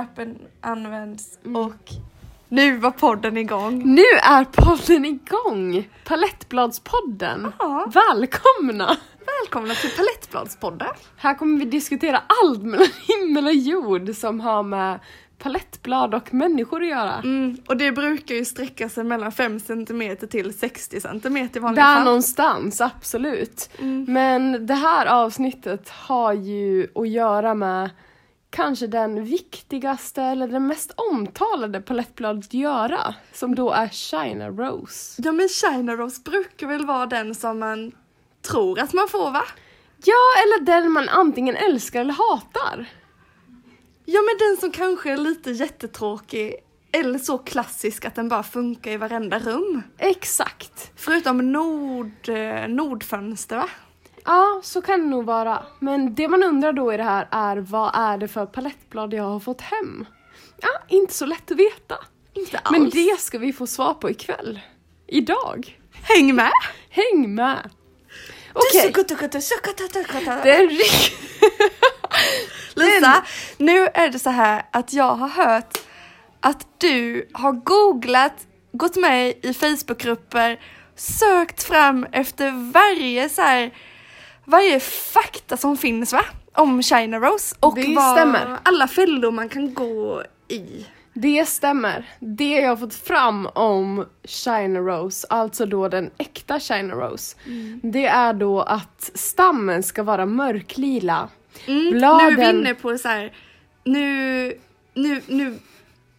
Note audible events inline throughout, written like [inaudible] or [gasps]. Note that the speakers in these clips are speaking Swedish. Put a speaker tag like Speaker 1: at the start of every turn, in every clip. Speaker 1: appen används
Speaker 2: Mm.
Speaker 1: och nu var podden igång.
Speaker 2: Nu är podden igång! Palettbladspodden.
Speaker 1: Ja.
Speaker 2: Välkomna!
Speaker 1: Välkomna till Palettbladspodden.
Speaker 2: Här kommer vi diskutera allt mellan himmel och jord som har med palettblad och människor att göra.
Speaker 1: Mm, och det brukar ju sträcka sig mellan 5 cm till 60 cm i vanliga
Speaker 2: Där
Speaker 1: fall.
Speaker 2: någonstans, absolut.
Speaker 1: Mm.
Speaker 2: Men det här avsnittet har ju att göra med kanske den viktigaste eller den mest omtalade palettbladet att göra, som då är China Rose.
Speaker 1: Ja men China Rose brukar väl vara den som man tror att man får va?
Speaker 2: Ja, eller den man antingen älskar eller hatar.
Speaker 1: Ja men den som kanske är lite jättetråkig eller så klassisk att den bara funkar i varenda rum.
Speaker 2: Exakt.
Speaker 1: Förutom nord, eh, nordfönster va?
Speaker 2: Ja, så kan det nog vara. Men det man undrar då i det här är vad är det för palettblad jag har fått hem? Ja, inte så lätt att veta.
Speaker 1: Inte alls.
Speaker 2: Men det ska vi få svar på ikväll. Idag.
Speaker 1: Häng med!
Speaker 2: Häng med! Okej, det är en rik...
Speaker 1: Lisa, nu är det så här att jag har hört att du har googlat, gått med i Facebookgrupper, sökt fram efter varje så här, varje fakta som finns va? Om China Rose och
Speaker 2: Det stämmer.
Speaker 1: alla fällor man kan gå i.
Speaker 2: Det stämmer. Det jag har fått fram om China Rose, alltså då den äkta China Rose, det är då att stammen ska vara mörklila.
Speaker 1: Mm,
Speaker 2: Bladen-
Speaker 1: Nu är vi inne på så här, nu, nu, nu,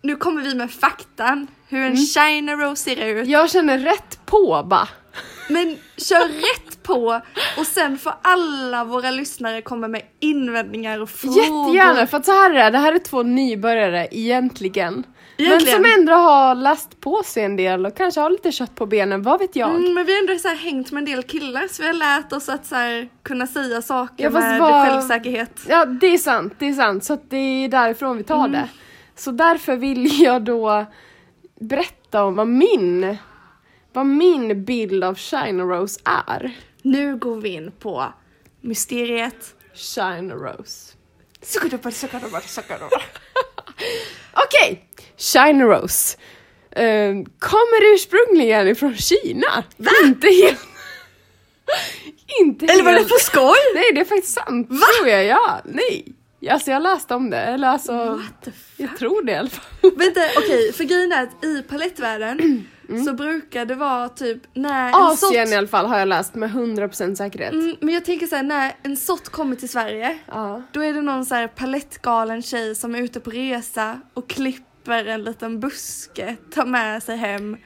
Speaker 1: nu kommer vi med faktan hur en
Speaker 2: Mm.
Speaker 1: China Rose ser ut.
Speaker 2: Jag känner rätt på bara.
Speaker 1: Men kör rätt på och sen får alla våra lyssnare komma med invändningar och frågor.
Speaker 2: Jättegärna, för att så här är det. Det här är två nybörjare egentligen.
Speaker 1: Egentligen.
Speaker 2: Men som ändå har läst på sig en del och kanske har lite kött på benen, vad vet jag?
Speaker 1: Mm, men vi har ändå så här hängt med en del killar så vi har lärt oss att så här, kunna säga saker
Speaker 2: Ja, fast
Speaker 1: med
Speaker 2: vad-
Speaker 1: självsäkerhet.
Speaker 2: Ja, det är sant, det är sant. Så att det är därifrån vi tar
Speaker 1: Mm.
Speaker 2: det. Så därför vill [laughs] jag då berätta om vad min, vad min bild av China Rose är.
Speaker 1: Nu går vi in på mysteriet.
Speaker 2: China Rose.
Speaker 1: Sukadubbar, sukadubbar, sukadubbar.
Speaker 2: Okej, China Rose. Eh, kommer ursprungligen ifrån Kina. Inte helt... inte
Speaker 1: Eller var det
Speaker 2: helt...
Speaker 1: på skoj?
Speaker 2: Nej, det är faktiskt sant. Tror jag, ja. Nej. Alltså jag läste om det, eller alltså...
Speaker 1: What the f-
Speaker 2: Jag tror det i alla fall.
Speaker 1: Vänta, okej, för grejen är att i palettvärlden så brukar det vara typ när en sort...
Speaker 2: Mm. Asien i alla fall har jag läst med 100% säkerhet.
Speaker 1: Mm, men jag tänker såhär, när en sort kommer till Sverige
Speaker 2: Ja.
Speaker 1: Då är det någon så här palettgalen tjej som är ute på resa och klipper en liten buske, tar med sig hem.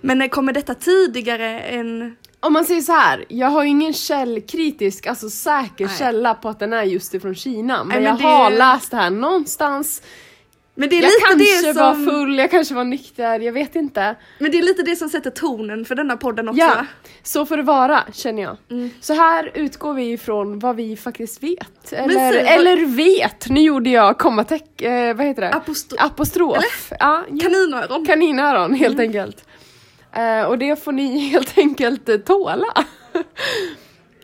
Speaker 1: Men när kommer detta tidigare än...
Speaker 2: Om man säger så här, jag har ju ingen källkritisk, alltså säker
Speaker 1: Nej.
Speaker 2: källa på att den är just ifrån Kina. Men,
Speaker 1: men
Speaker 2: jag
Speaker 1: det-
Speaker 2: har läst det här någonstans.
Speaker 1: Men det, är
Speaker 2: Jag
Speaker 1: lite det
Speaker 2: kanske var
Speaker 1: som,
Speaker 2: full, jag kanske var nykter, jag vet inte.
Speaker 1: men det är lite det som sätter tonen för denna podden också. Mm.
Speaker 2: Ja, så får det vara känner jag. Så här utgår vi ifrån vad vi faktiskt vet. Eller,
Speaker 1: säg vad-
Speaker 2: eller vet, nu gjorde jag kommateck, eh, vad heter det?
Speaker 1: Aposto-
Speaker 2: Apostrof. Ja, jo.
Speaker 1: Kaninöron. Mm.
Speaker 2: kaninöron helt enkelt. Eh, och det får ni [laughs] helt enkelt eh, tåla.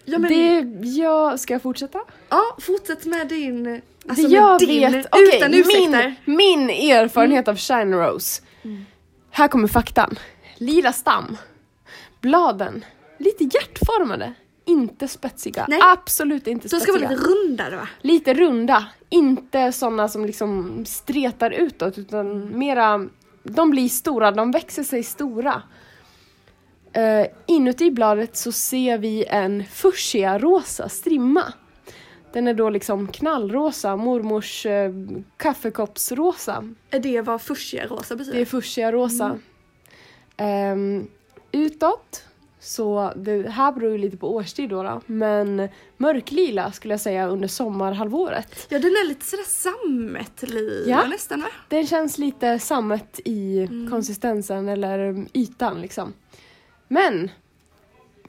Speaker 1: Ja, men,
Speaker 2: Det, jag, ska jag fortsätta?
Speaker 1: ja, fortsätt med din... Alltså
Speaker 2: det jag
Speaker 1: med din,
Speaker 2: vet, okej,
Speaker 1: utan ursäkter. Mm.
Speaker 2: min, min erfarenhet av China Rose. Här kommer faktan. Lila stam. Bladen, lite hjärtformade. Inte spetsiga.
Speaker 1: Nej.
Speaker 2: Absolut inte
Speaker 1: Så ska
Speaker 2: spetsiga.
Speaker 1: vara lite rundare va?
Speaker 2: lite runda. Inte sådana som liksom stretar utåt utan mera, de blir stora, de växer sig stora. Eh, inuti bladet så ser vi en fuchsia rosa strimma. Den är då liksom knallrosa, mormors eh, kaffekoppsrosa.
Speaker 1: Är det vad fuchsia rosa betyder?
Speaker 2: Det är fuchsia rosa. Ehm, utåt, så det här beror ju lite på årstid då, då men mörklila skulle jag säga under sommarhalvåret.
Speaker 1: Ja den är lite sådär sammetlila
Speaker 2: Ja.
Speaker 1: nästan va?
Speaker 2: Den känns lite sammet i
Speaker 1: Mm.
Speaker 2: konsistensen eller um, ytan liksom. Men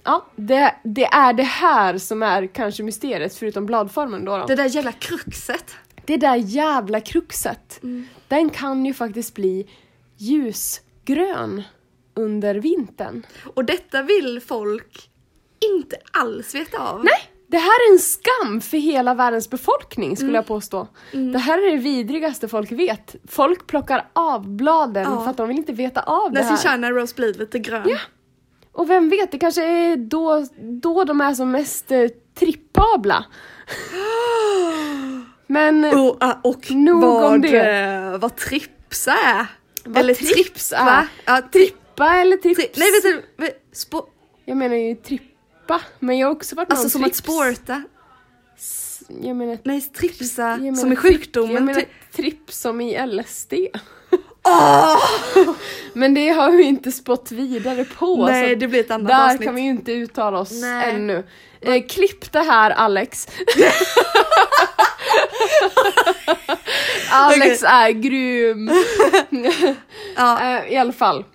Speaker 2: ja, det, det är det här som är kanske mysteriet förutom bladformen då. då.
Speaker 1: Det
Speaker 2: Det,
Speaker 1: där jävla kruxet.
Speaker 2: där jävla kruxet.
Speaker 1: Mm.
Speaker 2: Den kan ju faktiskt bli ljusgrön under vintern.
Speaker 1: Och detta vill folk inte alls veta av.
Speaker 2: Nej, Det här är en skam för hela världens befolkning
Speaker 1: Mm.
Speaker 2: skulle jag påstå. Det här är det vidrigaste folk vet. Folk plockar av bladen
Speaker 1: Ja.
Speaker 2: för att de vill inte veta av det
Speaker 1: När sin
Speaker 2: här.
Speaker 1: China Rose blir lite grön.
Speaker 2: Ja. Och vem vet, det kanske är då, då de är som mest eh, trippabla. [gasps] Men eh,
Speaker 1: Och, ah, och
Speaker 2: Nog om
Speaker 1: vad,
Speaker 2: det.
Speaker 1: eh, vad tripsa är.
Speaker 2: Vad trips är.
Speaker 1: va? Ja, tripp.
Speaker 2: trippa eller trips?
Speaker 1: Tri- nej, vet du, vet- spå-
Speaker 2: Jag menar ju trippa, men jag har också varit med
Speaker 1: alltså
Speaker 2: om
Speaker 1: som att
Speaker 2: trips.
Speaker 1: sporta.
Speaker 2: Jag menar,
Speaker 1: Nej, tripsa
Speaker 2: jag menar
Speaker 1: som i
Speaker 2: tripp- Jag
Speaker 1: sjukdomen.
Speaker 2: menar
Speaker 1: Tri-
Speaker 2: trips som i LSD.
Speaker 1: Åh!
Speaker 2: Men det har vi inte spått vidare på.
Speaker 1: Nej,
Speaker 2: så
Speaker 1: det blir ett annat
Speaker 2: alltså, där
Speaker 1: avsnitt.
Speaker 2: kan vi ju inte uttala oss
Speaker 1: Nej.
Speaker 2: ännu. Eh, klipp det här Alex.
Speaker 1: [laughs]
Speaker 2: [laughs] Alex är grym.
Speaker 1: ja.
Speaker 2: Eh, I alla fall.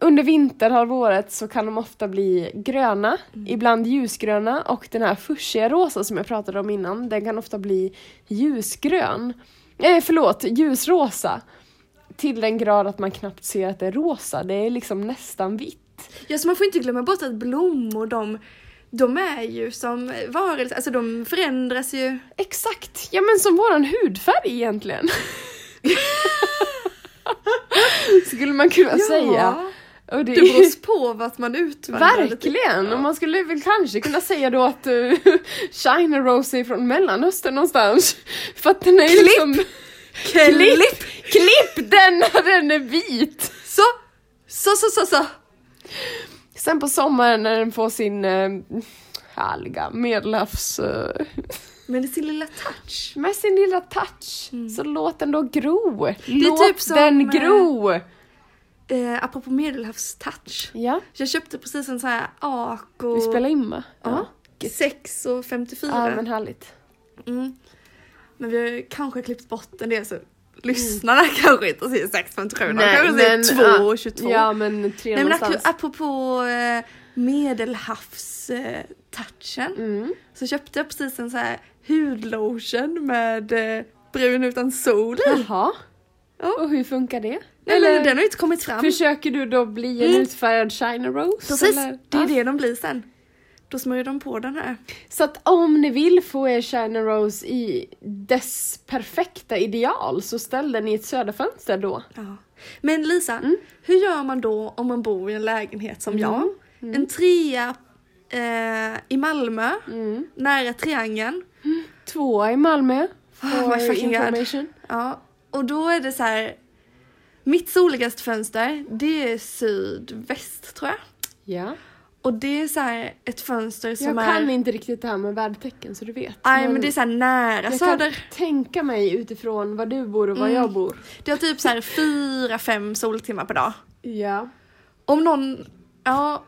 Speaker 2: Under vinterhalvåret så kan de ofta bli gröna,
Speaker 1: Mm.
Speaker 2: ibland ljusgröna och den här fuchsia rosa som jag pratade om innan, den kan ofta bli ljusgrön. Eh, förlåt, ljusrosa. Till den grad att man knappt ser att det är rosa, det är liksom nästan vitt.
Speaker 1: Ja, så man får inte glömma bort att blommor, de, de är ju som varelser, alltså de förändras ju.
Speaker 2: Exakt! Ja men som våran hudfärg
Speaker 1: [laughs]
Speaker 2: egentligen. [laughs] Skulle man kunna säga. Och
Speaker 1: Det beror på vart man utvandrar. lite.
Speaker 2: Verkligen! Och man skulle väl kanske kunna säga då att [laughs] uh, China Rose är från Mellanöstern någonstans. [laughs] För att den är ju
Speaker 1: Klipp!
Speaker 2: liksom...
Speaker 1: Klipp!
Speaker 2: Klipp! Klipp den [laughs] när den är vit!
Speaker 1: Så! Så, så, så, så!
Speaker 2: Sen på sommaren när den får sin uh, härliga medelhavs... eh,
Speaker 1: Men det är sin lilla touch.
Speaker 2: med sin lilla touch. Så låt den då gro! Låt
Speaker 1: Mm. typ som,
Speaker 2: den
Speaker 1: eh,
Speaker 2: gro!
Speaker 1: Eh, apropå medelhavstouch.
Speaker 2: Ja,
Speaker 1: Jag köpte precis en sån här Ako...
Speaker 2: vi spelar in va?
Speaker 1: Ja. 6 och 54.
Speaker 2: Ja men
Speaker 1: men...
Speaker 2: härligt.
Speaker 1: Mm. men vi har ju kanske klippt bort en del
Speaker 2: Mm.
Speaker 1: så lyssnarna [laughs] kanske inte ser 6 57 de kanske ser 2 och 22.
Speaker 2: Ja men tre
Speaker 1: Nej men
Speaker 2: någonstans.
Speaker 1: apropå, apropå eh, medelhavstouchen
Speaker 2: Mm.
Speaker 1: så köpte jag precis en sån här hudlotion med eh, brun utan sol i.
Speaker 2: Jaha.
Speaker 1: Ja.
Speaker 2: Och hur funkar det?
Speaker 1: Nej, men den har ju inte kommit fram.
Speaker 2: försöker du då bli en
Speaker 1: Mm.
Speaker 2: utfärgad China Rose?
Speaker 1: Precis,
Speaker 2: eller?
Speaker 1: det är
Speaker 2: Ja.
Speaker 1: det de blir sen. Då smörjer de på den här.
Speaker 2: Så att om ni vill få er China Rose i dess perfekta ideal så ställ den i ett söderfönster då.
Speaker 1: Ja. Men Lisa,
Speaker 2: Mm.
Speaker 1: hur gör man då om man bor i en lägenhet som jag? En trea eh, i Malmö,
Speaker 2: Mm.
Speaker 1: nära triangeln.
Speaker 2: Tvåa i Malmö.
Speaker 1: Oh, my fucking God. Ja, och då är det så här. Mitt soligaste fönster, det är sydväst tror jag.
Speaker 2: Ja.
Speaker 1: Och det är så här ett fönster som
Speaker 2: Jag
Speaker 1: är...
Speaker 2: kan inte riktigt det här med vädertecken så du vet.
Speaker 1: Nej men det är så här nära
Speaker 2: jag
Speaker 1: söder.
Speaker 2: kan tänka mig utifrån var du bor och var
Speaker 1: Mm.
Speaker 2: jag bor.
Speaker 1: Det är typ så här fyra, fem soltimmar per dag.
Speaker 2: Ja.
Speaker 1: Om någon... Ja...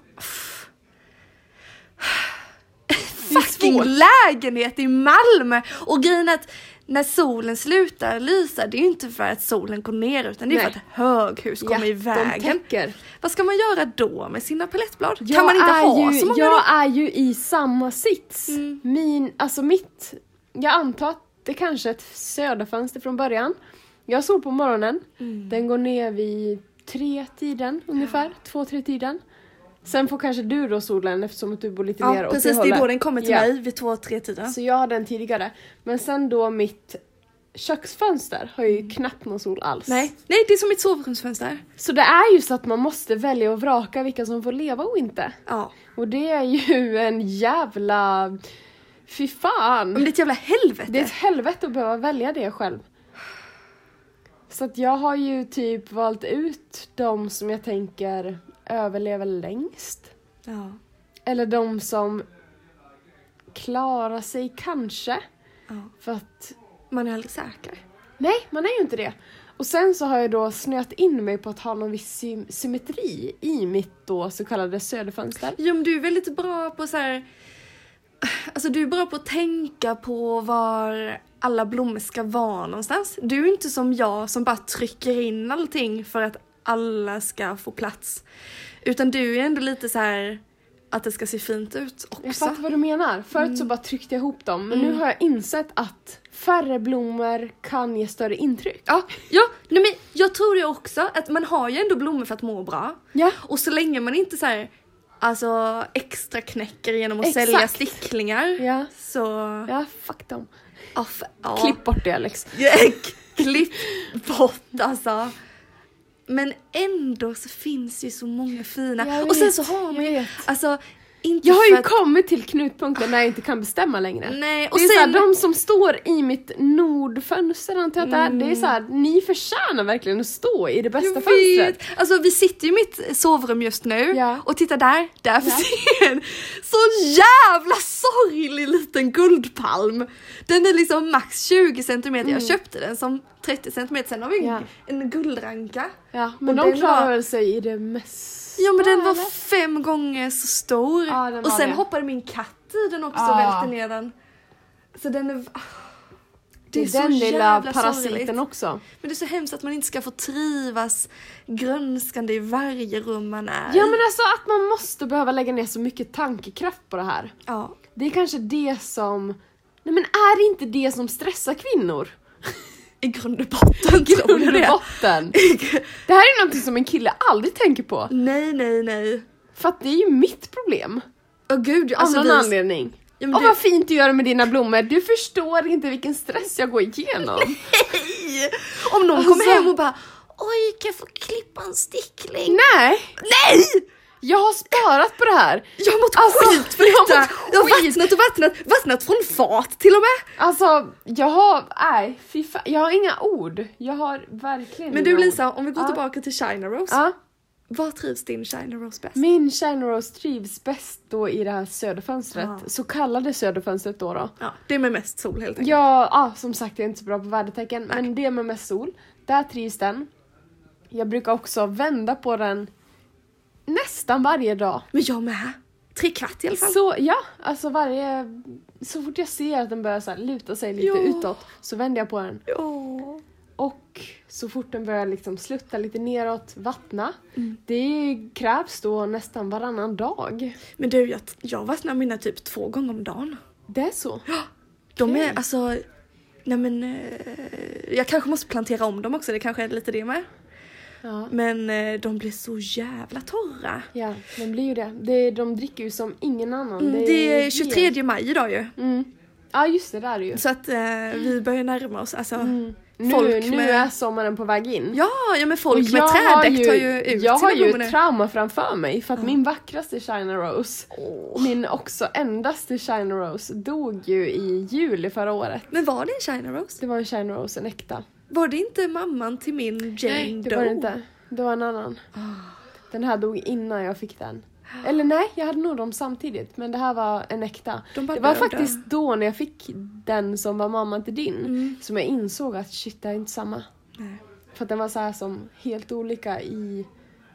Speaker 2: Det är
Speaker 1: Fucking
Speaker 2: svårt.
Speaker 1: lägenhet i Malmö! Och grejen är att när solen slutar lysa, det är ju inte för att solen går ner utan det är
Speaker 2: Nej.
Speaker 1: för att höghus kommer i
Speaker 2: De
Speaker 1: vägen.
Speaker 2: täcker.
Speaker 1: Vad ska man göra då med sina palettblad?
Speaker 2: Jag
Speaker 1: kan man inte
Speaker 2: är
Speaker 1: ha
Speaker 2: ju,
Speaker 1: så många
Speaker 2: Jag
Speaker 1: då?
Speaker 2: är ju i samma sits.
Speaker 1: Mm.
Speaker 2: Min, alltså mitt, jag antar att det kanske är ett söderfönster från början. Jag såg på morgonen,
Speaker 1: Mm.
Speaker 2: den går ner vid tre tiden ungefär, två, tre tiden. Sen får kanske du då solen eftersom att du bor lite mer
Speaker 1: Ja
Speaker 2: åt
Speaker 1: precis, det är
Speaker 2: hållet.
Speaker 1: då den kommer till
Speaker 2: Ja.
Speaker 1: mig vid två, tre tiden.
Speaker 2: Så jag har den tidigare. Men sen då mitt köksfönster har ju knappt någon sol alls.
Speaker 1: Mm. Nej, nej det är som mitt sovrumsfönster.
Speaker 2: Så det är ju så att man måste välja och vraka vilka som får leva och inte.
Speaker 1: Ja.
Speaker 2: Och det är ju en jävla... Fy fan!
Speaker 1: Men det är ett jävla helvete.
Speaker 2: Det är ett helvete att behöva välja det själv. Så att jag har ju typ valt ut de som jag tänker överlever längst.
Speaker 1: Ja.
Speaker 2: Eller de som klarar sig kanske.
Speaker 1: Ja.
Speaker 2: För att
Speaker 1: Man är aldrig säker.
Speaker 2: Nej, man är ju inte det. Och sen så har jag då snöat in mig på att ha någon viss sym- symmetri i mitt då så kallade söderfönster.
Speaker 1: Jo men du är väldigt bra på så här. Alltså du är bra på att tänka på var alla blommor ska vara någonstans. Du är inte som jag som bara trycker in allting för att alla ska få plats. Utan du är ändå lite så här att det ska se fint ut
Speaker 2: Jag
Speaker 1: också.
Speaker 2: fattar vad du menar. Förut
Speaker 1: Mm.
Speaker 2: så bara tryckte jag ihop dem men nu har jag insett att färre blommor kan ge större intryck.
Speaker 1: Ja, ja nej men jag tror det också att man har ju ändå blommor för att må bra.
Speaker 2: Ja.
Speaker 1: Och så länge man inte så här alltså extra knäcker genom att
Speaker 2: Exakt.
Speaker 1: sälja sticklingar.
Speaker 2: Ja.
Speaker 1: Så,
Speaker 2: Ja, fuck dem.
Speaker 1: ja. f- ja.
Speaker 2: Klipp bort det Alex.
Speaker 1: Ja, Klipp bort alltså. Men ändå så finns ju så många fina.
Speaker 2: Jag
Speaker 1: och sen
Speaker 2: vet,
Speaker 1: så har man
Speaker 2: jag
Speaker 1: ju,
Speaker 2: vet.
Speaker 1: alltså inte
Speaker 2: Jag har
Speaker 1: för
Speaker 2: ju
Speaker 1: att-
Speaker 2: kommit till knutpunkten när jag inte kan bestämma längre.
Speaker 1: Nej,
Speaker 2: Och
Speaker 1: och
Speaker 2: det är
Speaker 1: sen,
Speaker 2: såhär, de som står i mitt nordfönster antar jag att det är, det är såhär, ni förtjänar verkligen att stå i det bästa
Speaker 1: Mm. jag
Speaker 2: fönstret.
Speaker 1: vet. Alltså vi sitter ju i mitt sovrum just nu
Speaker 2: Ja.
Speaker 1: och titta där, där finns det en sån jävla sorglig liten guldpalm. Den är liksom max 20 cm, jag köpte den som 30 cm, sen har vi en,
Speaker 2: Mm. Ja.
Speaker 1: en guldranka.
Speaker 2: Ja, men
Speaker 1: Och
Speaker 2: de
Speaker 1: den
Speaker 2: klarar
Speaker 1: var-
Speaker 2: väl sig i det mesta?
Speaker 1: Ja men den var
Speaker 2: eller?
Speaker 1: fem gånger så stor.
Speaker 2: Ja, den
Speaker 1: och
Speaker 2: var
Speaker 1: sen
Speaker 2: det.
Speaker 1: hoppade min katt i den också och
Speaker 2: Ja.
Speaker 1: välte ner den. Så den är... Ah.
Speaker 2: Det är
Speaker 1: så
Speaker 2: den lilla
Speaker 1: jävla
Speaker 2: parasiten
Speaker 1: sorgligt.
Speaker 2: också.
Speaker 1: Men det är så hemskt att man inte ska få trivas grönskande i varje rum man är
Speaker 2: Ja
Speaker 1: i.
Speaker 2: men alltså att man måste behöva lägga ner så mycket tankekraft på det här.
Speaker 1: Ja.
Speaker 2: Det är kanske det som... Nej men är det inte det som stressar kvinnor?
Speaker 1: I grund och botten tror jag
Speaker 2: Under
Speaker 1: det.
Speaker 2: botten. Det här är någonting som en kille aldrig tänker på.
Speaker 1: nej, nej, nej.
Speaker 2: För att det är ju mitt problem.
Speaker 1: Åh gud,
Speaker 2: Av
Speaker 1: alltså
Speaker 2: någon
Speaker 1: vi...
Speaker 2: anledning.
Speaker 1: Ja,
Speaker 2: Åh
Speaker 1: men
Speaker 2: vad fint du gör med dina blommor, du förstår inte vilken stress jag
Speaker 1: [laughs]
Speaker 2: går igenom.
Speaker 1: det... Om någon
Speaker 2: Alltså-
Speaker 1: kommer hem och bara Oj, kan jag få klippa en stickling?
Speaker 2: Nej!
Speaker 1: Nej!
Speaker 2: Jag har sparat på det här.
Speaker 1: Jag har mått
Speaker 2: Alltså,
Speaker 1: skit för
Speaker 2: jag har
Speaker 1: detta!
Speaker 2: mått
Speaker 1: Jag har
Speaker 2: skit.
Speaker 1: vattnat och vattnat, vattnat från fat till och med!
Speaker 2: Alltså, jag har, nej, fy fan, jag har inga ord. Jag har verkligen
Speaker 1: Men
Speaker 2: inga
Speaker 1: du
Speaker 2: ord.
Speaker 1: Lisa, om vi går
Speaker 2: Ja.
Speaker 1: tillbaka till China Rose.
Speaker 2: Ja,
Speaker 1: Var trivs din China Rose bäst?
Speaker 2: min China Rose trivs bäst då i det här söderfönstret,
Speaker 1: Ja.
Speaker 2: så kallade söderfönstret då då.
Speaker 1: Ja, det är med mest sol helt enkelt.
Speaker 2: Ja, ja, som sagt jag är inte så bra på vädertecken, men det med mest sol, där trivs den. Jag brukar också vända på den nästan varje dag.
Speaker 1: Men jag med. Tre kvart i alla fall.
Speaker 2: Så ja, alltså varje... Så fort jag ser att den börjar så här luta sig lite
Speaker 1: Ja.
Speaker 2: utåt så vänder jag på den.
Speaker 1: Ja.
Speaker 2: Och så fort den börjar liksom slutta lite neråt, vattna.
Speaker 1: Mm.
Speaker 2: Det krävs då nästan varannan dag.
Speaker 1: Men du, jag, jag vattnar mina typ två gånger om dagen.
Speaker 2: Det är så.
Speaker 1: De
Speaker 2: Okej.
Speaker 1: är alltså... Nej men... eh, jag kanske måste plantera om dem också, det kanske är lite det med.
Speaker 2: Ja.
Speaker 1: Men eh, de blir så jävla torra.
Speaker 2: Ja, de blir ju det. det de dricker ju som ingen annan.
Speaker 1: Mm, det är 23 maj idag ju.
Speaker 2: Mm. Ja, just det, där är det ju.
Speaker 1: Så att eh, vi
Speaker 2: Mm.
Speaker 1: börjar närma oss. Alltså,
Speaker 2: Nu,
Speaker 1: Folk
Speaker 2: nu
Speaker 1: med-
Speaker 2: är sommaren på väg in.
Speaker 1: ja, ja, men folk
Speaker 2: Och
Speaker 1: med
Speaker 2: jag
Speaker 1: trädäck tar ju ut
Speaker 2: Jag har ju
Speaker 1: blommor nu.
Speaker 2: ett trauma framför mig för att min vackraste China Rose,
Speaker 1: Oh.
Speaker 2: min också endaste China Rose, dog ju i juli förra året.
Speaker 1: Men var det en China Rose?
Speaker 2: Det var en China Rose, en äkta.
Speaker 1: Var det inte mamman till min Jane Doe? Ah,
Speaker 2: det var det inte. Det var en annan. Den här dog innan jag fick den. Eller nej, jag hade nog dem samtidigt men det här var en äkta.
Speaker 1: De bara
Speaker 2: det var
Speaker 1: döda.
Speaker 2: faktiskt då när jag fick den som var mamman till din som jag insåg att shit, det här är inte samma.
Speaker 1: Mm. Nej.
Speaker 2: För att den var så här som helt olika i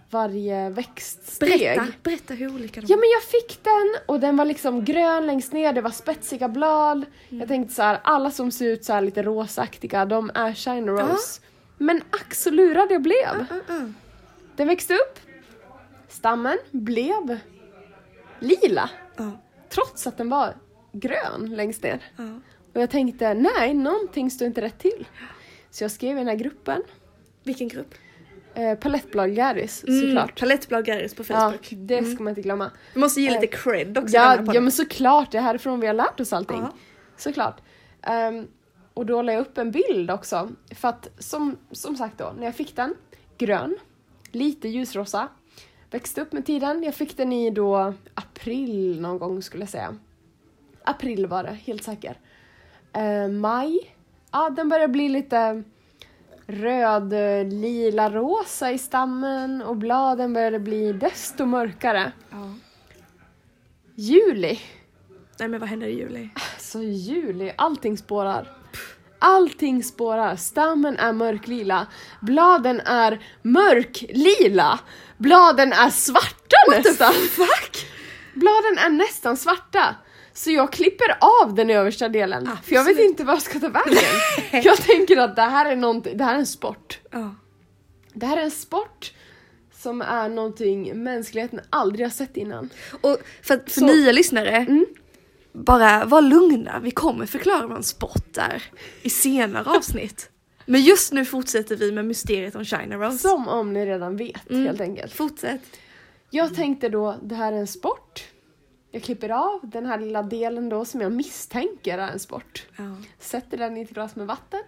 Speaker 2: varje växtsteg.
Speaker 1: Berätta, berätta hur olika de
Speaker 2: Ja men jag fick den och den var liksom grön längst ner, det var spetsiga blad.
Speaker 1: Mm.
Speaker 2: Jag tänkte så här, alla som ser ut så här lite rosaktiga, de är China Rose. Men ack så lurad jag blev.
Speaker 1: Ja, ja.
Speaker 2: Den växte upp, stammen blev lila
Speaker 1: Ja,
Speaker 2: trots att den var grön längst ner.
Speaker 1: ah. ja.
Speaker 2: Och jag tänkte, nej, någonting står inte rätt till. Så jag skrev i den här gruppen,
Speaker 1: Vilken grupp?
Speaker 2: eh, Palettblad Garris såklart.
Speaker 1: Palettblad Garris på
Speaker 2: Ja,
Speaker 1: Mm. Facebook.
Speaker 2: det ska man inte glömma.
Speaker 1: Vi måste ge
Speaker 2: Eh,
Speaker 1: lite cred också. i
Speaker 2: Ja,
Speaker 1: den här
Speaker 2: ja
Speaker 1: podden.
Speaker 2: men såklart, det är härifrån vi har lärt oss allting.
Speaker 1: Ja.
Speaker 2: Såklart. Ehm, och då la jag upp en bild också. För att som, som sagt då, när jag fick den, grön, lite ljusrosa, växte upp med tiden. Jag fick den i då april någon gång skulle jag säga. April var det, helt säker. Eh, maj, ja den börjar bli lite röd, eh, lila, rosa i stammen och bladen började bli desto mörkare.
Speaker 1: ja.
Speaker 2: Juli,
Speaker 1: Nej men vad händer i
Speaker 2: [laughs]
Speaker 1: juli?
Speaker 2: Alltså juli, allting spårar. Allting spårar. Stammen är mörklila. Bladen är mörklila. Bladen är svarta nästan.
Speaker 1: Fuck!
Speaker 2: Bladen är nästan svarta. Så jag klipper av den översta delen. För jag vet
Speaker 1: Absolut.
Speaker 2: inte vad jag ska ta vägen. jag tänker att det här är någonting, det här är en sport.
Speaker 1: Ja.
Speaker 2: Det här är en sport som är någonting mänskligheten aldrig har sett innan.
Speaker 1: Och för, att- för
Speaker 2: Så- Mm.
Speaker 1: nya lyssnare, bara var lugna, vi kommer förklara vad en sport är i senare avsnitt. Men just nu fortsätter vi med mysteriet om China Rose.
Speaker 2: Som om ni redan vet helt enkelt.
Speaker 1: Fortsätt.
Speaker 2: Jag tänkte då, det här är en sport. Jag klipper av den här lilla delen då som jag misstänker är en sport.
Speaker 1: Ja.
Speaker 2: Sätter den i ett glas med vatten.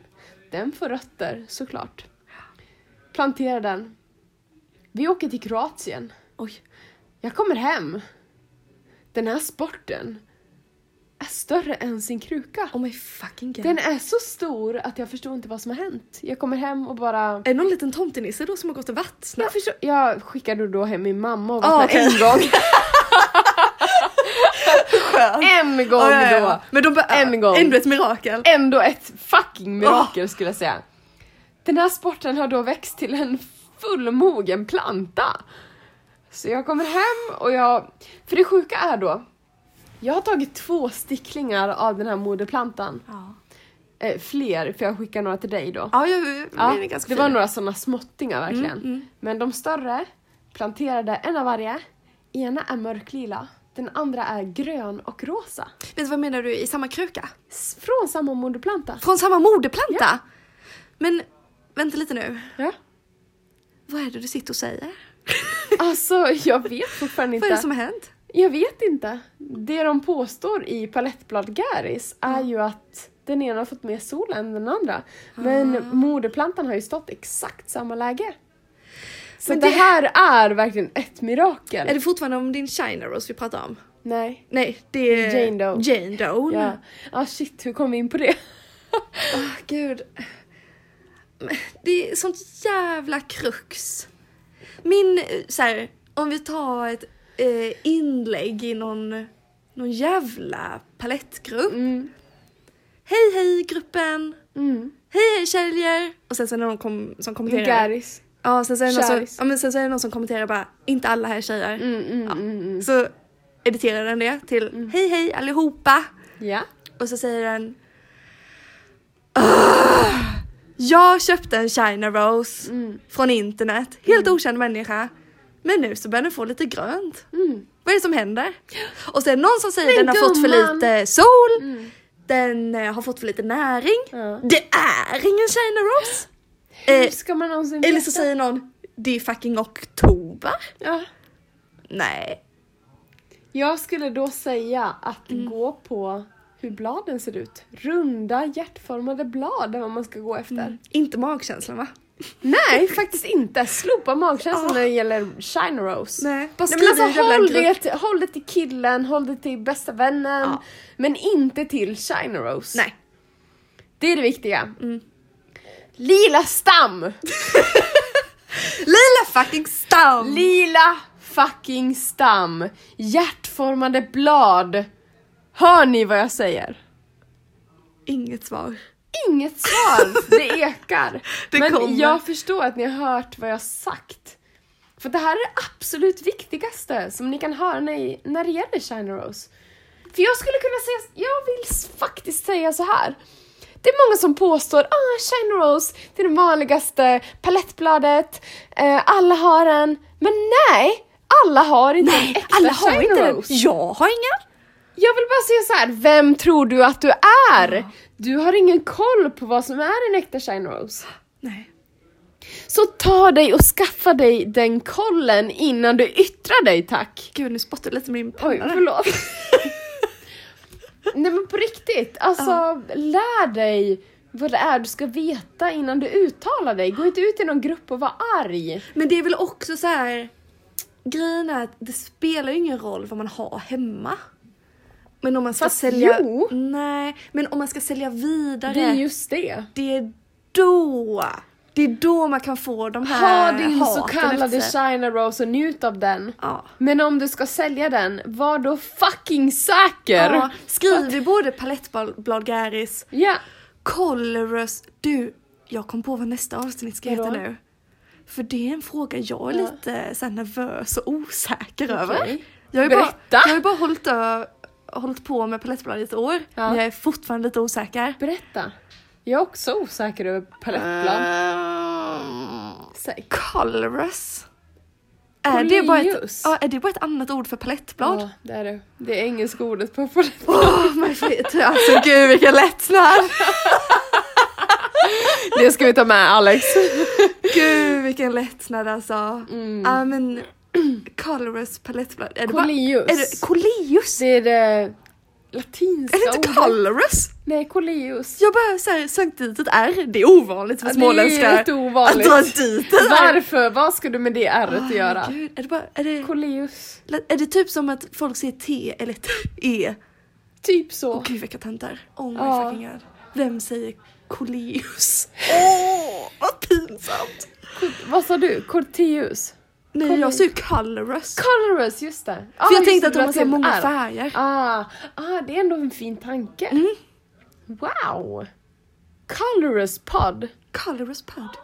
Speaker 2: Den får rötter såklart. Planterar den. Vi åker till Kroatien.
Speaker 1: Oj.
Speaker 2: Jag kommer hem. Den här sporten är större än sin kruka.
Speaker 1: Oh my fucking god.
Speaker 2: Den är så stor att jag förstår inte vad som har hänt. Jag kommer hem och bara...
Speaker 1: Är det någon liten tomtenisse då som har gått och varit snabb?
Speaker 2: Jag, förstår... jag skickade då hem min mamma och
Speaker 1: Ah,
Speaker 2: var
Speaker 1: okej. [laughs]
Speaker 2: en gång. en gång
Speaker 1: Ah, Ja, ja, ja.
Speaker 2: då!
Speaker 1: Men de bara,
Speaker 2: En gång.
Speaker 1: Ändå ett mirakel.
Speaker 2: Ändå ett fucking mirakel skulle jag säga. Den här sporten har då växt till en fullmogen planta. Så jag kommer hem och jag... För det sjuka är då, jag har tagit två sticklingar av den här moderplantan.
Speaker 1: Ja,
Speaker 2: Eh, fler, för jag skickar några till dig då.
Speaker 1: ja, ja,
Speaker 2: Ja,
Speaker 1: den är ganska
Speaker 2: det
Speaker 1: fin.
Speaker 2: var några sådana småttingar verkligen.
Speaker 1: Mm, mm.
Speaker 2: Men de större planterade en av varje. Ena är mörklila, den andra är grön och rosa.
Speaker 1: Vet du vad menar du? I samma kruka?
Speaker 2: S- Från samma moderplanta.
Speaker 1: Från samma moderplanta? Men vänta lite nu.
Speaker 2: Ja.
Speaker 1: Vad är det du sitter och säger?
Speaker 2: Alltså, jag vet fortfarande
Speaker 1: Vad är
Speaker 2: inte.
Speaker 1: det som har hänt?
Speaker 2: Jag vet inte. Det de påstår i Palettblad Gäris är ju att den ena har fått mer sol än den andra.
Speaker 1: Ah.
Speaker 2: Men moderplantan har ju stått exakt samma läge. Så
Speaker 1: Men
Speaker 2: det...
Speaker 1: det-
Speaker 2: här är verkligen ett mirakel.
Speaker 1: Är det fortfarande om din China Rose vi pratar om?
Speaker 2: Nej.
Speaker 1: Nej, det är
Speaker 2: Jane Doe.
Speaker 1: Jane Doe.
Speaker 2: Ja. Ah shit, hur kom vi in
Speaker 1: [laughs]
Speaker 2: på det?
Speaker 1: Åh, Ah, gud. Men Det är sånt jävla krux. Min, eh, så här, om vi tar ett eh, inlägg i någon, någon jävla palettgrupp.
Speaker 2: Mm.
Speaker 1: Hej hej gruppen!
Speaker 2: Mm.
Speaker 1: Hej hej tjejer! Och sen så är det någon kom, som kommenterar.
Speaker 2: Vulgaris.
Speaker 1: Ja, sen så, är det någon som,
Speaker 2: Käris.
Speaker 1: ja, men sen så är det någon som kommenterar bara inte alla här är tjejer.
Speaker 2: Mm, mm, mm, mm.
Speaker 1: Så editerar den det till hej hej allihopa.
Speaker 2: Ja.
Speaker 1: Och så säger den "Ugh, Jag köpte en China Rose
Speaker 2: Mm.
Speaker 1: från internet, helt okänd människa. Men nu så börjar den få lite grönt.
Speaker 2: Mm.
Speaker 1: Vad är det som händer? Och sen någon som säger den har fått för
Speaker 2: gumman."
Speaker 1: lite sol,
Speaker 2: Mm.
Speaker 1: den eh, har fått för lite näring.
Speaker 2: Ja.
Speaker 1: Det är ingen China Rose!
Speaker 2: Hur
Speaker 1: Eh,
Speaker 2: ska man någonsin
Speaker 1: eller
Speaker 2: veta?
Speaker 1: så säger någon det är fucking oktober.
Speaker 2: ja.
Speaker 1: Nej.
Speaker 2: Jag skulle då säga att gå på hur bladen ser ut. Runda hjärtformade blad är vad man ska gå efter.
Speaker 1: Inte magkänslan va?
Speaker 2: Nej, faktiskt inte. Slopa magkänslan
Speaker 1: Ah.
Speaker 2: när det gäller Shine Rose.
Speaker 1: Nej. Bara
Speaker 2: Nej, men
Speaker 1: skriv i en
Speaker 2: alltså,
Speaker 1: jävla
Speaker 2: håll,
Speaker 1: grupp.
Speaker 2: det, till- håll det till killen, håll det till bästa vännen.
Speaker 1: Ja.
Speaker 2: Men inte till Shine Rose.
Speaker 1: Nej.
Speaker 2: Det är det viktiga. Lila stam!
Speaker 1: Lila fucking stam!
Speaker 2: Lila fucking stam! Hjärtformade blad! Hör ni vad jag säger?
Speaker 1: Inget svar.
Speaker 2: Inget svar! Det ekar.
Speaker 1: [laughs] Det
Speaker 2: Men
Speaker 1: kommer.
Speaker 2: jag förstår att ni har hört vad jag har sagt. För det här är det absolut viktigaste som ni kan höra när, när det gäller China Rose. För jag skulle kunna säga, jag vill s- faktiskt säga så här. Det är många som påstår ah, China Rose, det är det vanligaste palettbladet, eh, alla har en. Men nej, alla har inte en
Speaker 1: Nej,
Speaker 2: äkta
Speaker 1: alla har
Speaker 2: China
Speaker 1: inte den.
Speaker 2: Rose.
Speaker 1: Jag har ingen.
Speaker 2: Jag vill bara säga så här, vem tror du att du är? Du har ingen koll på vad som är en äkta Shine Rose.
Speaker 1: Nej.
Speaker 2: Så ta dig och skaffa dig den kollen innan du yttrar dig tack.
Speaker 1: Gud, nu spottade jag lite med min
Speaker 2: Oj,
Speaker 1: penna. där.
Speaker 2: förlåt. [laughs] Nej men på riktigt, alltså lär dig vad det är du ska veta innan du uttalar dig. Gå inte ut i någon grupp och var arg.
Speaker 1: Men det är väl också så här. Grejen är att det spelar ju ingen roll vad man har hemma. Men om man ska
Speaker 2: Fast
Speaker 1: sälja...
Speaker 2: jo.
Speaker 1: Nej, men om man ska sälja vidare.
Speaker 2: Det är just det.
Speaker 1: det är då. Det är då man kan få de
Speaker 2: Ha
Speaker 1: här
Speaker 2: din så
Speaker 1: haten
Speaker 2: kallade
Speaker 1: efter sig.
Speaker 2: China Rose och njut av den.
Speaker 1: Ja.
Speaker 2: Men om du ska sälja den, var då fucking säker!
Speaker 1: ja. Skriv i både palettblad Garis,
Speaker 2: Ja.
Speaker 1: Colorous. Du, jag kom på vad nästa avsnitt ska heta
Speaker 2: Vadå?
Speaker 1: nu. För det är en fråga jag är
Speaker 2: Ja.
Speaker 1: lite så här nervös och osäker över.
Speaker 2: Okej.
Speaker 1: Jag har ju bara,
Speaker 2: Berätta.
Speaker 1: jag har ju bara hållit, ö, hållit på med palettbladet i ett år,
Speaker 2: Ja.
Speaker 1: men jag är fortfarande lite osäker.
Speaker 2: Berätta. Jag är också osäker över palettblad.
Speaker 1: Eh, Uh,
Speaker 2: Säg.
Speaker 1: colorous. Är det, bara ett,
Speaker 2: Colorous.
Speaker 1: ja, är det bara ett annat ord för palettblad?
Speaker 2: Ja, det är det. Det är engelska ordet på palett.
Speaker 1: Oh my shit, alltså gud vilken lättnad!
Speaker 2: Det ska vi ta med Alex. [laughs]
Speaker 1: Gud vilken lättnad alltså. Ja
Speaker 2: Mm.
Speaker 1: men Colorous palettblad. Är det bara-
Speaker 2: Coleus.
Speaker 1: Är det Coleus?
Speaker 2: Det är det latinska
Speaker 1: Är det inte
Speaker 2: ordet.
Speaker 1: Colorous?
Speaker 2: Nej, coleus.
Speaker 1: Jag bara såhär sökt dit ett R. Det är ovanligt för
Speaker 2: Ja, Det är
Speaker 1: småländska
Speaker 2: rätt
Speaker 1: att
Speaker 2: ovanligt.
Speaker 1: dra dit ett R.
Speaker 2: Varför? Vad ska du med
Speaker 1: Ah,
Speaker 2: det ärret att
Speaker 1: Åh,
Speaker 2: göra?
Speaker 1: herregud. Är det, bara, är, det,
Speaker 2: Coleus.
Speaker 1: är det typ som att folk säger T eller E?
Speaker 2: Typ så.
Speaker 1: Åh gud vilka töntar. Oh my
Speaker 2: Ja.
Speaker 1: fucking god. Vem säger
Speaker 2: [laughs]
Speaker 1: Coleus? Åh, vad pinsamt.
Speaker 2: Vad sa du? Corteus?
Speaker 1: Nej jag
Speaker 2: Coleus.
Speaker 1: sa ju Colorous.
Speaker 2: Colorous, just det. Ah,
Speaker 1: För jag
Speaker 2: just
Speaker 1: tänkte att de
Speaker 2: dra
Speaker 1: har så
Speaker 2: till
Speaker 1: många
Speaker 2: R.
Speaker 1: färger.
Speaker 2: Ah, ah, det är ändå en fin tanke.
Speaker 1: Mm.
Speaker 2: Wow! Colorous pod.
Speaker 1: Colorous Pod.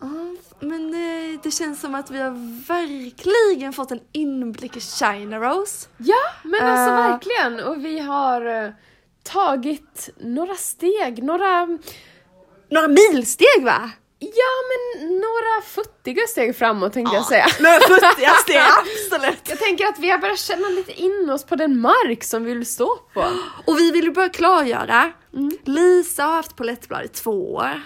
Speaker 1: Ja, men eh, det känns som att vi har verkligen fått en inblick i China Rose.
Speaker 2: Ja, men alltså
Speaker 1: Eh.
Speaker 2: verkligen. Och vi har eh, tagit några steg, några,
Speaker 1: Några milsteg va?
Speaker 2: ja men några futtiga steg framåt tänkte
Speaker 1: Ah.
Speaker 2: jag säga.
Speaker 1: [laughs] Några futtiga steg, [laughs] absolut.
Speaker 2: Jag tänker att vi har börjat känna lite in oss på den mark som vi vill stå på.
Speaker 1: Och vi vill ju bara klargöra.
Speaker 2: Mm.
Speaker 1: Lisa har haft palettblad i två år.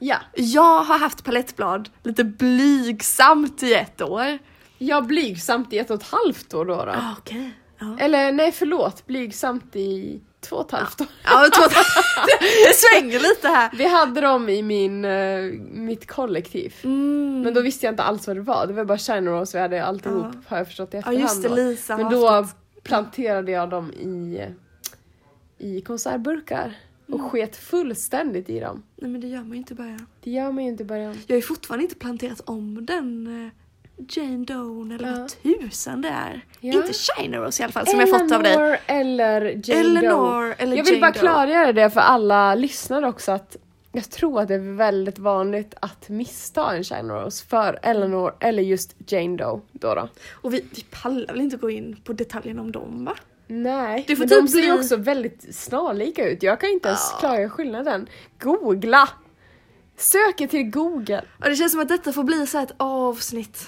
Speaker 2: Ja,
Speaker 1: Jag har haft palettblad lite blygsamt i ett år.
Speaker 2: jag blygsamt i ett och ett halvt år då. då.
Speaker 1: Ah, Okej. Ja.
Speaker 2: Eller nej förlåt, blygsamt i två och ett halvt år.
Speaker 1: Ja, jag tror att [laughs] det svänger lite här.
Speaker 2: Vi hade dem i min, eh, mitt kollektiv.
Speaker 1: Mm.
Speaker 2: Men då visste jag inte alls vad det var. Det var bara China Rose vi hade alltihop
Speaker 1: Ja.
Speaker 2: har jag förstått i
Speaker 1: Ja
Speaker 2: efterhand.
Speaker 1: just det,
Speaker 2: då.
Speaker 1: Lisa
Speaker 2: Men
Speaker 1: har
Speaker 2: då
Speaker 1: haft
Speaker 2: planterade jag dem i, i konservburkar och
Speaker 1: Mm.
Speaker 2: sket fullständigt i dem.
Speaker 1: ett- Nej men det gör man ju inte bara.
Speaker 2: Det gör man ju inte i början.
Speaker 1: Jag har ju fortfarande inte planterat om den eh, Jane Doan eller
Speaker 2: Ja.
Speaker 1: vad tusan det är.
Speaker 2: Ja.
Speaker 1: Inte China Rose i alla fall som jag fått av dig.
Speaker 2: Eleanor eller Jane Doe.
Speaker 1: Eleanor eller
Speaker 2: Jag vill
Speaker 1: Jane
Speaker 2: bara
Speaker 1: Doe.
Speaker 2: klargöra det för alla lyssnare också att jag tror att det är väldigt vanligt att missta en China Rose för Eleanor eller just Jane Doe. Då då.
Speaker 1: Och vi, vi pallar väl inte gå in på detaljerna om dem va?
Speaker 2: Nej,
Speaker 1: Det får
Speaker 2: men
Speaker 1: typ
Speaker 2: de ser ju
Speaker 1: bli-
Speaker 2: också väldigt snarlika ut. Jag kan inte ens
Speaker 1: Ja.
Speaker 2: klara skillnaden. Googla! Söker till Google.
Speaker 1: Och det känns som att detta får bli så här ett avsnitt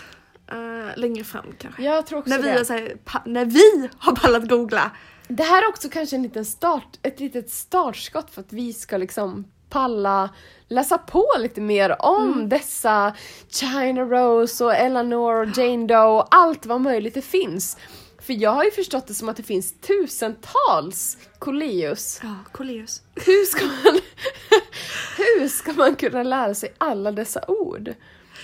Speaker 1: eh, längre fram kanske.
Speaker 2: Jag tror också
Speaker 1: När vi,
Speaker 2: det.
Speaker 1: har så här, pa- när vi har pallat googla.
Speaker 2: Det här är också kanske en liten start, ett litet startskott för att vi ska liksom palla läsa på lite mer om dessa China Rose och Eleanor och Jane Doe och allt vad möjligt det finns. För jag har ju förstått det som att det finns tusentals Coleus.
Speaker 1: Ja, Coleus.
Speaker 2: Hur ska man, [laughs] hur ska man kunna lära sig alla dessa ord?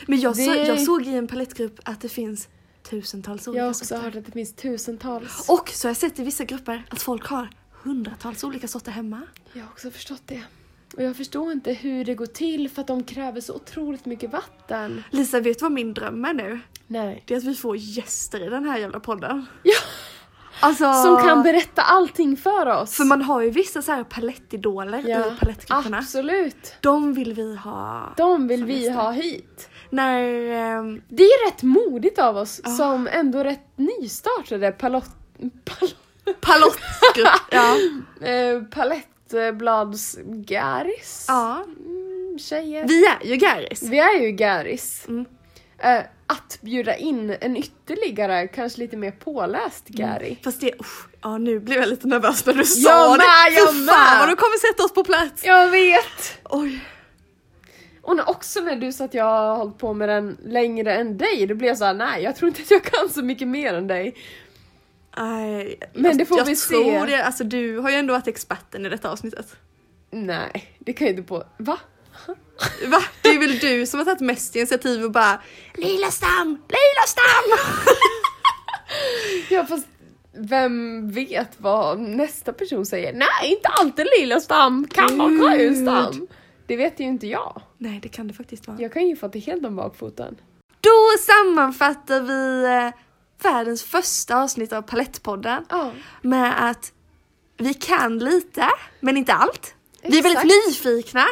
Speaker 1: Men jag, så,
Speaker 2: Det-
Speaker 1: jag såg i en palettgrupp att det finns tusentals olika
Speaker 2: Jag har också
Speaker 1: sorter.
Speaker 2: hört att det finns tusentals.
Speaker 1: Och så har jag sett i vissa grupper att folk har hundratals olika sorter hemma.
Speaker 2: Jag har också förstått det. Och jag förstår inte hur det går till för att de kräver så otroligt mycket vatten.
Speaker 1: Lisa, vet du vad min dröm är nu?
Speaker 2: Nej.
Speaker 1: Det är att vi får gäster i den här jävla podden.
Speaker 2: Ja.
Speaker 1: Alltså,
Speaker 2: Som kan berätta allting för oss.
Speaker 1: För man har ju vissa så här palettidoler i palettgrupperna.
Speaker 2: Absolut.
Speaker 1: De vill vi ha.
Speaker 2: De vill
Speaker 1: Som
Speaker 2: vi
Speaker 1: gäster.
Speaker 2: ha hit.
Speaker 1: När... ehm,
Speaker 2: Det är rätt modigt av oss
Speaker 1: Ja.
Speaker 2: som ändå rätt nystartade palott... palott [laughs]
Speaker 1: palottgrupp... ja.
Speaker 2: eh, palettbladsgaris.
Speaker 1: ja.
Speaker 2: Mm, tjejer.
Speaker 1: Vi är ju Garris.
Speaker 2: Vi är ju Garis.
Speaker 1: Mm.
Speaker 2: Eh, att bjuda in en ytterligare, kanske lite mer påläst Gary.
Speaker 1: Fast det... usch, ja, nu blev jag lite nervös när du sa
Speaker 2: Jag
Speaker 1: det.
Speaker 2: med, jag
Speaker 1: Fy fan
Speaker 2: med.
Speaker 1: vad du kommer sätta oss på plats.
Speaker 2: Jag vet!
Speaker 1: Oj.
Speaker 2: Och när- också när du sa att jag har hållit på med den längre än dig, då blev jag såhär, nej jag tror inte att jag kan så mycket mer än dig.
Speaker 1: Nej,
Speaker 2: Men det får
Speaker 1: alltså, jag
Speaker 2: vi se.
Speaker 1: tror Det, alltså, du har ju ändå varit experten i detta avsnittet.
Speaker 2: Nej, det kan jag inte på... Va?
Speaker 1: Va? Det är väl du som har tagit mest initiativ och bara Lila Stam! Lila Stam!
Speaker 2: Ja fast vem vet vad nästa person säger? Nej, inte alltid lilla stam, kan vara grön stam. Det vet ju inte jag.
Speaker 1: Nej det kan det faktiskt vara.
Speaker 2: Jag kan ju få det helt om bakfoten.
Speaker 1: Då sammanfattar vi eh, världens första avsnitt av Palettpodden
Speaker 2: Ja.
Speaker 1: med att vi kan lite, men inte allt. Vi är väldigt
Speaker 2: Exakt.
Speaker 1: nyfikna.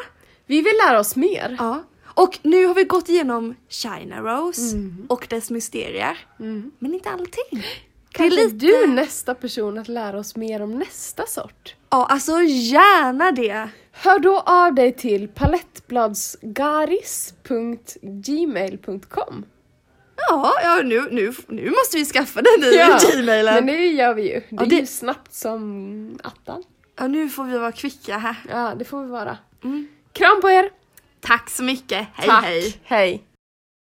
Speaker 2: Vi vill lära oss mer.
Speaker 1: Ja. Och nu har vi gått igenom China Rose och dess mysterier. Men inte allting.
Speaker 2: Kanske
Speaker 1: Det är
Speaker 2: är
Speaker 1: lite-
Speaker 2: du nästa person att lära oss mer om nästa sort?
Speaker 1: Ja, alltså gärna det.
Speaker 2: Hör då av dig till palettbladsgaris.gmail.com
Speaker 1: Ja, ja nu, nu, nu måste vi skaffa den nya
Speaker 2: Ja,
Speaker 1: [laughs] gmailen.
Speaker 2: Men det gör vi ju. Det
Speaker 1: Ja,
Speaker 2: är
Speaker 1: det-
Speaker 2: ju snabbt som attan.
Speaker 1: Ja, nu får vi vara kvicka här.
Speaker 2: Ja, det får vi vara.
Speaker 1: Mm.
Speaker 2: Kram på er!
Speaker 1: Tack så mycket. Hej, hej.
Speaker 2: hej!